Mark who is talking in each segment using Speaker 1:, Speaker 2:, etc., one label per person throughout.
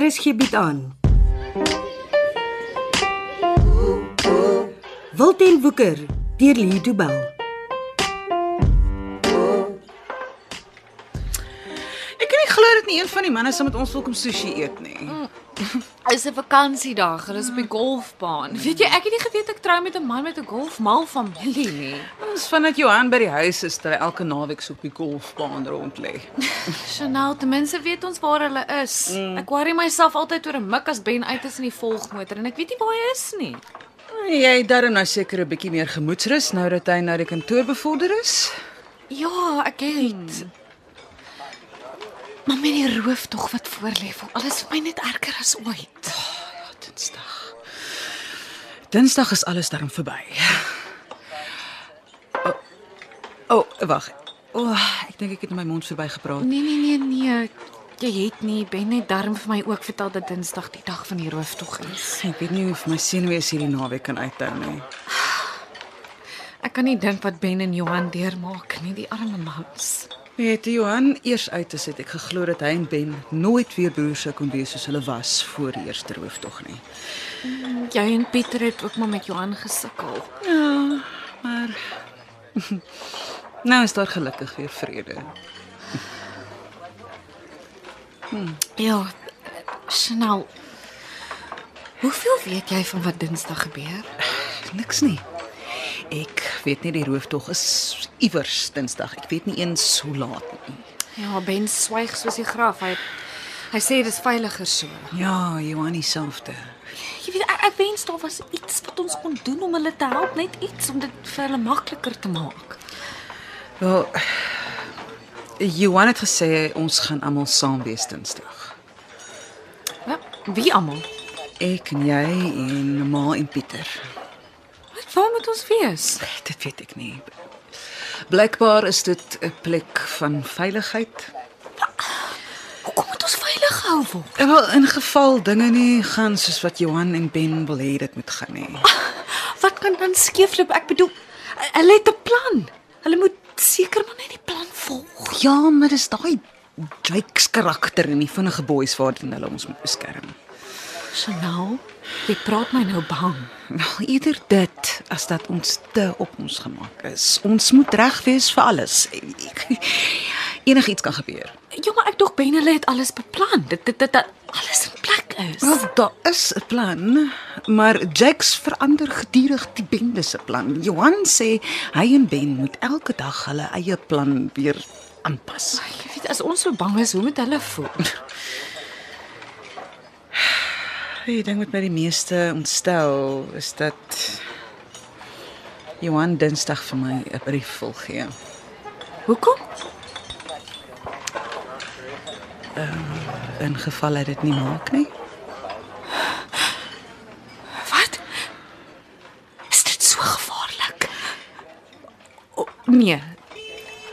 Speaker 1: RSG bied Er aan. Wilten Woeker deur Lee Du Bell.
Speaker 2: Ek kan nie glo dat nie een van die manne saam met ons wil kom sushi eet nie.
Speaker 3: Is 'n vakansiedag, hulle is op die golfbaan. Mm. Weet jy, ek het nie geweet ek trou met 'n man met 'n golfmal familie nie.
Speaker 2: Ons vandat Johan by die huis is, terwyl elke naweek so op die golfbaan rond lê.
Speaker 3: Chanel, ten minste weet ons waar hulle is. Mm. Ek worry myself altyd oor 'n mik as Ben uit is in die volgmotor en ek weet nie waar hy is nie.
Speaker 2: Jy darm nou seker 'n bietjie meer gemoedsrus nou dat hy na die kantoor bevorder is.
Speaker 3: Ja, ek het. Mm. Maar met die roof tog wat voorlê, voel alles vir my net erger as ooit.
Speaker 2: Ja, Dinsdag. Dinsdag is alles darm verby. O, oh, oh, wag. O, oh, ek dink ek het in my mond verby gepraat.
Speaker 3: Nee, nee, nee, nee. Jy het nie Ben het darm vir my ook vertel dat Dinsdag die dag van die rooftog is.
Speaker 2: Ek weet nie hoe my senuwees hierdie naweek kan uithou nie.
Speaker 3: Ek kan nie dink wat Ben en Johan deurmaak nie, die arme mans.
Speaker 2: Weet jy, Johan, eers uit as ek geglo dat hy en Ben nooit weer broers sou kon wees soos hulle was voor die eerste rooftog nie.
Speaker 3: Jy en Pieter het ook maar met Johan gesukkel.
Speaker 2: Ja, maar nou is daar gelukkig weer vrede.
Speaker 3: Ja, Chanel. Hoeveel weet jy van wat Dinsdag gebeur?
Speaker 2: Niks nie. Ek weet nie die rooftog is iewers Dinsdag. Ek weet nie eens hoe laat nie.
Speaker 3: Ja, Ben swyg soos die graf. Hy hy sê dis veiliger so.
Speaker 2: Ja, Johan dieselfde.
Speaker 3: Jy weet ek, ek wens daar was iets wat ons kon doen om hulle te help, net iets om dit vir hulle makliker te maak.
Speaker 2: Wel Johan het gesê ons gaan almal saam wees Dinsdag.
Speaker 3: Wat? Wie almal?
Speaker 2: Ek en jy en ma en Pieter.
Speaker 3: Wat wou met ons wees?
Speaker 2: Dit weet ek nie. Blykbaar is dit 'n plek van veiligheid.
Speaker 3: Hoekom moet ons veilig hou word?
Speaker 2: Eh, Wel in geval dinge nie gaan soos wat Johan en Ben wil hê dit moet gaan nie.
Speaker 3: Wat kan dan skeefloop? Ek bedoel, hulle het 'n plan. Hulle moet seker maar net die plan volg.
Speaker 2: Ja, maar dis daai Jake's karakter in die vinnige boeis waarteen hulle ons moet beskerm.
Speaker 3: Chanel, nou, jy praat my nou bang.
Speaker 2: Wel eerder dit as dat ons te op ons gemaak is. Ons moet reg wees vir alles. Enigiets kan gebeur.
Speaker 3: Ja, maar ek dog Ben hulle het alles beplan. Dit dit dit, dit alles in plek is.
Speaker 2: Wel, daar is 'n plan, maar Jax verander gedurig die bende se plan. Johan sê hy en Ben moet elke dag hulle eie plan weer aanpas.
Speaker 3: Jy weet as ons so bang is, hoe moet hulle voel?
Speaker 2: Die ding wat my die meeste ontstel is dat Johan Dinsdag vir my 'n brief wil gee.
Speaker 3: Hoekom?
Speaker 2: In geval hy dit nie maak nie.
Speaker 3: Wat? Is dit so gevaarlik? O, nee.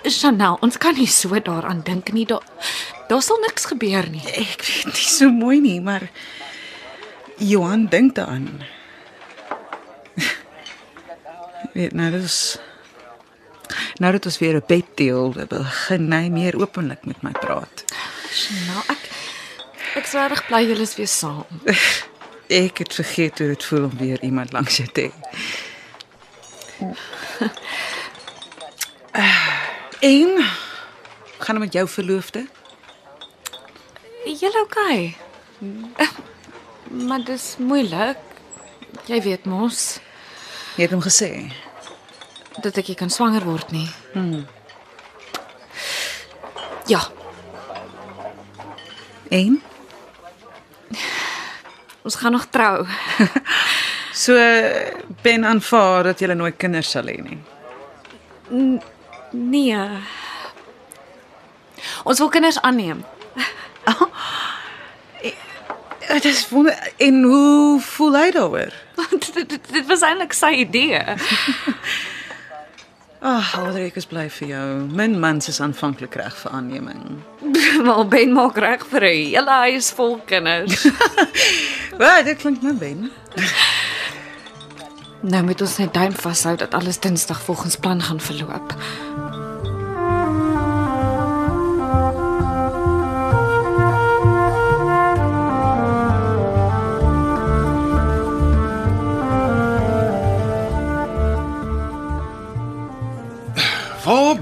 Speaker 3: Chanel, ons kan nie so daaraan dink nie. Daar daar sal niks gebeur nie.
Speaker 2: Ek weet nie so mooi nie, maar Johan dink daaraan. weet nou dis nou dat ons weer 'n bed deel, begin hy meer openlik met my praat.
Speaker 3: Chanel, Nou, ek ek sou reg bly julle is weer saam.
Speaker 2: Ek het vergeet hoe dit voel om weer iemand langs jou te hê. Eh, Eén gaan dit met jou verloofde?
Speaker 3: Julle okay? Mm. Maar dis moeilik. Jy weet mos
Speaker 2: Jy het hom gesê.
Speaker 3: dat ek nie kan swanger word nie. Hmm. Ja,
Speaker 2: Eén.
Speaker 3: ons gaan nog trou.
Speaker 2: So ben aanvaar dat jy nooit kinders sal hê nie.
Speaker 3: Nee. Ons wil kinders aanneem.
Speaker 2: Dit is Eh, wonder en hoe voel hy daaroor?
Speaker 3: dit, dit, dit was eintlik sy idee.
Speaker 2: Ag, Aldrik is bly vir jou. Min mans is aanvanklik reg vir aanneming.
Speaker 3: Wel Ben maak reg vir 'n hele huis vol kinders.
Speaker 2: Wel, dit klink my ben.
Speaker 3: nou moet ons net duim vashou dat alles Dinsdag volgens plan gaan verloop.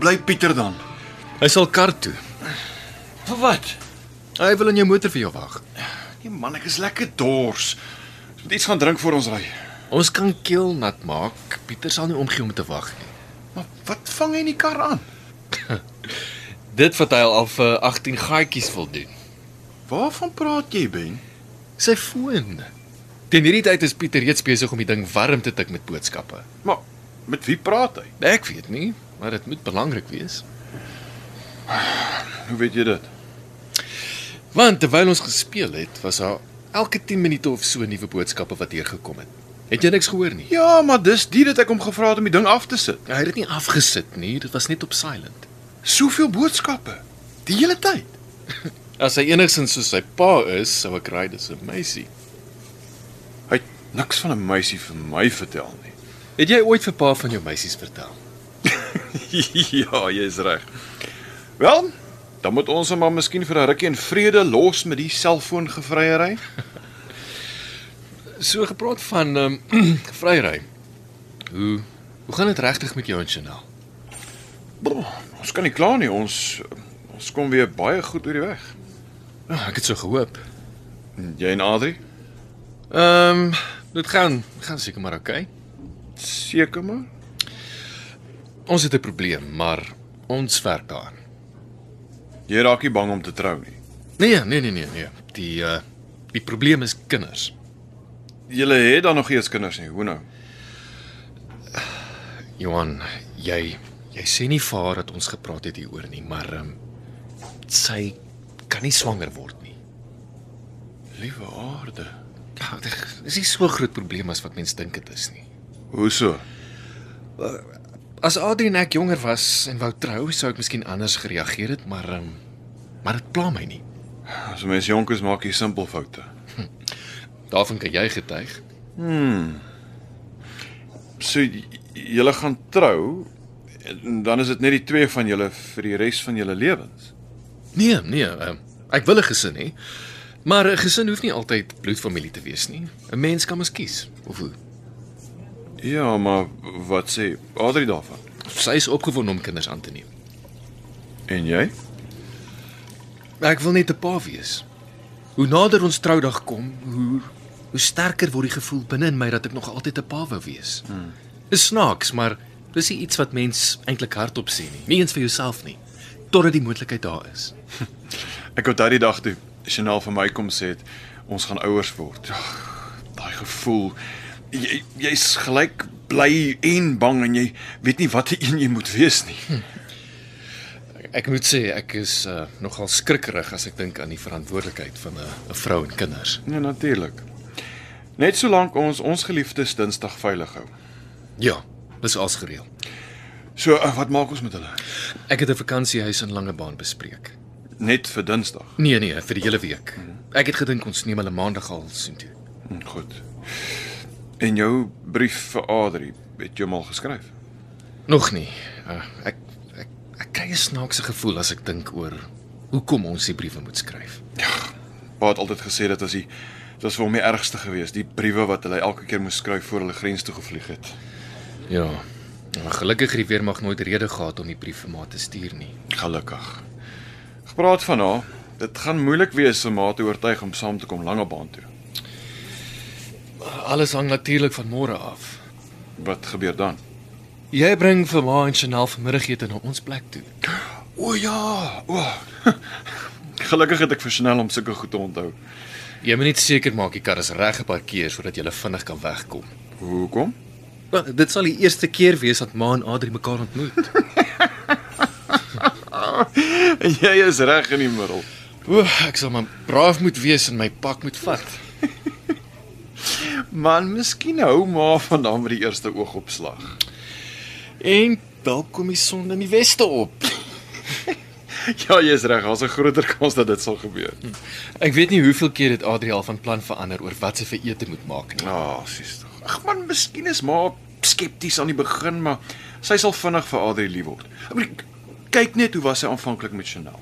Speaker 4: bly Pieter dan?
Speaker 5: Hy sal kar toe.
Speaker 4: Vir wat?
Speaker 5: Hy wil in jou motor vir jou wag.
Speaker 4: Nee man, ek is lekker dors. Ons moet iets gaan drink voor ons ry.
Speaker 5: Ons kan keel nat maak. Pieter sal nie omgee om te wag nie.
Speaker 4: Maar wat vang hy in die kar aan?
Speaker 5: Dit wat hy al vir 18 gaatjies wil doen.
Speaker 4: Waarvan praat jy, Ben?
Speaker 5: Sy foon. Teen hierdie tyd is Pieter reeds besig om die ding warm te tik met boodskappe.
Speaker 4: Maar met wie praat hy?
Speaker 5: Ek weet nie, maar dit moet belangrik wees.
Speaker 4: Hoe weet jy dit?
Speaker 5: Want terwyl ons gespeel het, was daar elke 10 minute of so nuwe boodskappe wat hier gekom het. Het jy niks gehoor nie?
Speaker 4: Ja, maar dis die dat ek hom gevra het om die ding af te sit.
Speaker 5: Hy het dit nie afgesit nie, dit was net op silent.
Speaker 4: Soveel boodskappe. Die hele tyd.
Speaker 5: As hy enigsins soos sy pa is, sou ek raai dis 'n meisie.
Speaker 4: Hy het niks van 'n meisie vir my vertel nie.
Speaker 5: Het jy ooit vir pa van jou meisies vertel?
Speaker 4: ja, jy's reg. Wel, dan moet ons hom maar miskien vir 'n rukkie in vrede los met die selfoongevryery.
Speaker 5: So gepraat van ehm um, vryry. Hoe hoe gaan dit regtig met jou en Chanel?
Speaker 4: Bro, Ons kan nie kla nie. Ons ons kom weer baie goed oor die weg.
Speaker 5: Oh, ek het so gehoop.
Speaker 4: Jy en Adri?
Speaker 5: Ehm um, dit gaan gaan seker maar oukei. Okay.
Speaker 4: Seker maar.
Speaker 5: Ons het 'n probleem, maar ons werk daaraan.
Speaker 4: Jy raak nie bang om te trou nie.
Speaker 5: Nee, nee, nee, nee, nee. Die uh die probleem is kinders.
Speaker 4: Julle het dan nog eers kinders nie. Hoe nou?
Speaker 5: Johan, jy jy sê nie vir haar dat ons gepraat het hieroor nie, maar ehm um, sy kan nie swanger word nie.
Speaker 4: Liewe aarde.
Speaker 5: Ja, dit is nie so groot probleem as wat mense dink dit is nie.
Speaker 4: Hoe so?
Speaker 5: As Adrien en ek jonger was en wou trou, sou ek miskien anders gereageer het, maar ehm um, maar dit pla my nie.
Speaker 4: As 'n mens jonk is, maak jy simpel foute.
Speaker 5: Daarvan kan jy getuig.
Speaker 4: So j- julle gaan trou en dan is dit net die twee van julle vir die res van julle lewens.
Speaker 5: Nee, nee, ehm, ek wil 'n gesin hê. Maar 'n gesin hoef nie altyd bloedfamilie te wees nie. 'n Mens kan mos kies of hoe.
Speaker 4: Ja, maar wat sê Adri daarvan?
Speaker 5: Sy is opgewonde om kinders aan te neem.
Speaker 4: En jy?
Speaker 5: Ek wil net 'n pa wees. Hoe nader ons troudag kom, hoe hoe sterker word die gevoel binne in my dat ek nog altyd 'n pa wou wees. Hmm. Is snaaks, maar dis nie iets wat mens eintlik hardop sê nie. Nie eens vir jouself nie, totdat die moontlikheid daar is.
Speaker 4: Ek onthou die dag toe Chanel vir my kom sê het ons gaan ouers word. Ag, Daai gevoel jy jy's gelyk bly en bang en jy weet nie watter een jy moet wees nie.
Speaker 5: Ek moet sê ek is uh, nogal skrikkerig as ek dink aan die verantwoordelikheid van 'n 'n vrou en kinders.
Speaker 4: Nee, natuurlik. Net solank ons ons geliefdes Dinsdag veilig hou.
Speaker 5: Ja, dis als gereël.
Speaker 4: So, eh, wat maak ons met hulle?
Speaker 5: Ek het 'n vakansiehuis in Langebaan bespreek.
Speaker 4: Net vir Dinsdag.
Speaker 5: Nee nee, vir die hele week. Ek het gedink ons neem hulle maandag al sien toe.
Speaker 4: Hm, Goed. En jou brief vir Adri, het jy hom al geskryf?
Speaker 5: Nog nie. Uh, ek ek ek kry 'n snaakse gevoel as ek dink oor hoekom ons die briewe moet skryf.
Speaker 4: Pa het altyd gesê dit was die dit was vir hom die ergste geweest, die briewe wat hulle elke keer moes skryf voor hulle grens toe gevlieg het.
Speaker 5: Ja. Maar gelukkig het die weermag nooit rede gehad om die brief vir ma te stuur nie.
Speaker 4: Gelukkig. Gepraat van haar, dit gaan moeilik wees om haar te oortuig om saam te kom Langebaan toe.
Speaker 5: Alles hang natuurlik van môre af.
Speaker 4: Wat gebeur dan?
Speaker 5: Jy bring vir ma en Chanel vanmiddagete na ons plek toe.
Speaker 4: O ja, o. Gelukkig het ek vir Chanel om sulke goed te onthou.
Speaker 5: Jy moet net seker maak die kar is reg geparkeer sodat jy vinnig kan wegkom.
Speaker 4: Hoekom?
Speaker 5: Wel, dit sal die eerste keer wees dat Ma en Adri mekaar ontmoet.
Speaker 4: En jy is reg in die middel.
Speaker 5: O, ek sal maar braaf moet wees en my pak moet vat.
Speaker 4: Man, miskien hou maar van hom met die eerste oogopslag.
Speaker 5: En dalk kom die son in die weste op.
Speaker 4: Ja, jy's reg, daar's 'n groter kans dat dit sal gebeur.
Speaker 5: Ek weet nie hoeveel keer dit Adri al van plan verander oor wat sy vir ete moet maak nie.
Speaker 4: Ja, oh, sies tog. Ag man, miskien is maar skepties aan die begin, maar sy sal vinnig vir Adri lief word. Ek bedoel, kyk net hoe was sy aanvanklik met Chanel.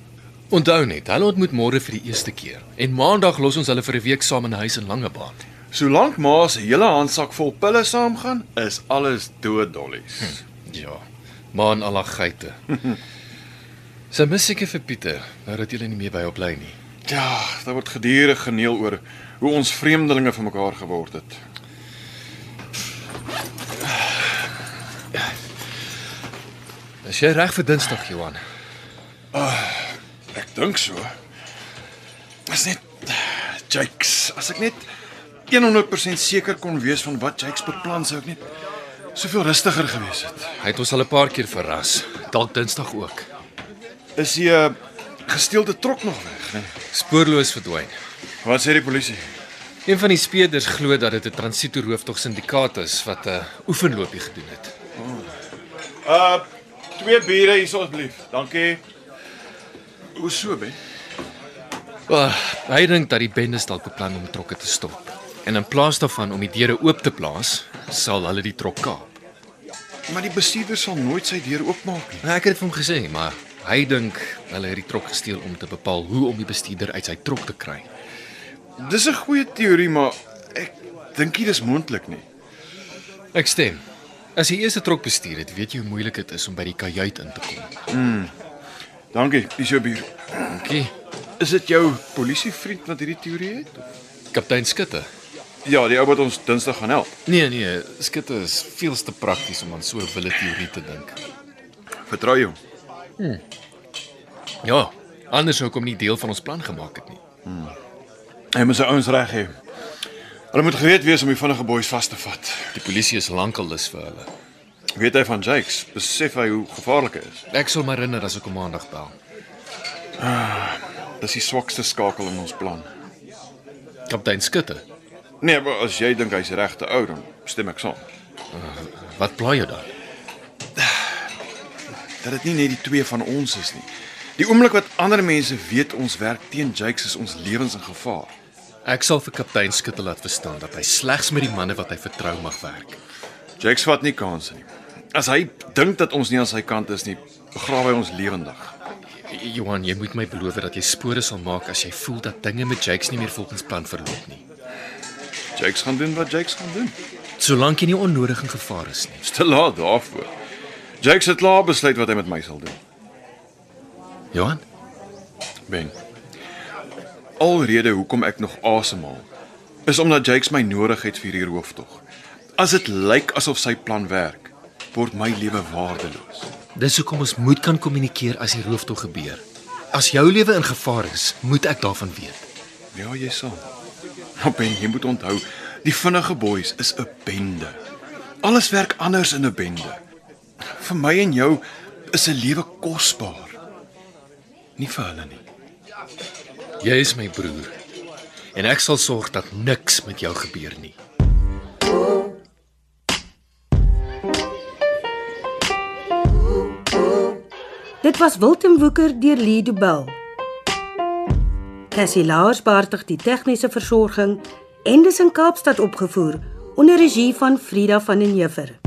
Speaker 5: Onthou net, hulle ontmoet môre vir die eerste keer en maandag los ons hulle vir 'n week saam in 'n huis in Langebaan.
Speaker 4: Solank ma se hele handsak vol pille saamgaan, is alles dooddollies.
Speaker 5: Ja. Maan al haar geite. Sy mis seker vir Pieter, nou dat julle nie meer by hom bly nie.
Speaker 4: Ja, daar word gedurig geneel oor hoe ons vreemdelinge van mekaar geword het.
Speaker 5: Is jy reg vir Dinsdag, Johan?
Speaker 4: Ek dink so. As net Jakes, as ek net 100% seker kon wees van wat Jakes beplan sou ek net soveel rustiger gewees het.
Speaker 5: Hy het ons al 'n paar keer verras. Dalk Dinsdag ook.
Speaker 4: Is die uh, gesteelde trok nog weg, nee?
Speaker 5: Spoorloos verdwyn.
Speaker 4: Wat sê die polisie?
Speaker 5: Een van die speerders glo dat dit 'n transito rooftog syndikaat is wat 'n oefenloopie gedoen het.
Speaker 4: Uh twee biere hier asseblief. Dankie. Hoe so, Ben?
Speaker 5: Wel, hy dink dat die bendes dalk beplan om trokke te stop. En in plaas daarvan om die deure oop te plaas, sal hulle die trok kaap.
Speaker 4: Maar die bestuurder sal nooit sy deur oopmaak nie.
Speaker 5: Nou, ek het dit vir hom gesê, maar hy dink hulle het die trok gesteel om te bepaal hoe om die bestuurder uit sy trok te kry.
Speaker 4: Dis 'n goeie teorie, maar ek dink nie dis moontlik nie.
Speaker 5: Ek stem. As jy eers 'n trok bestuur het, weet jy hoe moeilik dit is om by die kajuit in te kom.
Speaker 4: Dankie, dis jou bier.
Speaker 5: Dankie.
Speaker 4: Is dit jou polisievriend wat hierdie teorie het?
Speaker 5: Kaptein Skutte.
Speaker 4: Ja, die ou wat ons Dinsdag gaan help.
Speaker 5: Nee nee, Skutte is veel te prakties om aan so 'n wille teorie te dink.
Speaker 4: Vertrou jou.
Speaker 5: Ja, anders sou kom nie deel van ons plan gemaak het nie.
Speaker 4: Hy moet sy ouens reg hê. Hulle moet gereed wees om die vinnige boeis vas te vat.
Speaker 5: Die polisie is lankal lus vir hulle.
Speaker 4: Weet hy van Jakes? Besef hy hoe gevaarlik hy is?
Speaker 5: Ek sal my herinner as ek hom maandag bel.
Speaker 4: Dis die swakste skakel in ons plan.
Speaker 5: Kaptein Skutte,
Speaker 4: Nee, maar as jy dink hy's die regte ou, dan stem ek saam.
Speaker 5: wat pla jou daar?
Speaker 4: dat dit nie net die twee van ons is nie. Die oomblik wat ander mense weet ons werk teen Jakes is ons lewens in gevaar.
Speaker 5: Ek sal vir kaptein Skutte laat verstaan dat hy slegs met die manne wat hy vertrou mag werk.
Speaker 4: Jakes vat nie kansse nie. As hy dink dat ons nie aan sy kant is nie, begrawe hy ons lewendig.
Speaker 5: Johan, jy moet my beloof dat jy spore sal maak as jy voel dat dinge met Jakes nie meer volgens plan verloop nie.
Speaker 4: Jakes gaan doen wat Jakes gaan doen.
Speaker 5: Solank jy nie onnodig in gevaar is nie.
Speaker 4: Dis te laat daarvoor. Jakes het klaar besluit wat hy met my sal doen.
Speaker 5: Johan,
Speaker 4: Ben. Alrede hoekom ek nog asemhaal is omdat Jakes my nodig het vir hierdie hooftog. As dit lyk asof sy plan werk, word my lewe waardeloos.
Speaker 5: dis hoekom ons moet kan kommunikeer as die rooftog gebeur. As jou lewe in gevaar is, moet ek daarvan weet.
Speaker 4: Ja, jy sal. Maar Ben, jy moet onthou, die vinnige boeis is 'n bende. Alles werk anders in 'n bende. Vir my en jou is 'n lewe kosbaar. Nie vir hulle nie.
Speaker 5: Jy is my broer en ek sal sorg dat niks met jou gebeur nie.
Speaker 1: Dit was Wilten Woeker deur Lee Du Bell. Cassie Lars beheerdig die tegniese versorging en dis in Kaapstad opgevoer onder regie van Frida van den Heever.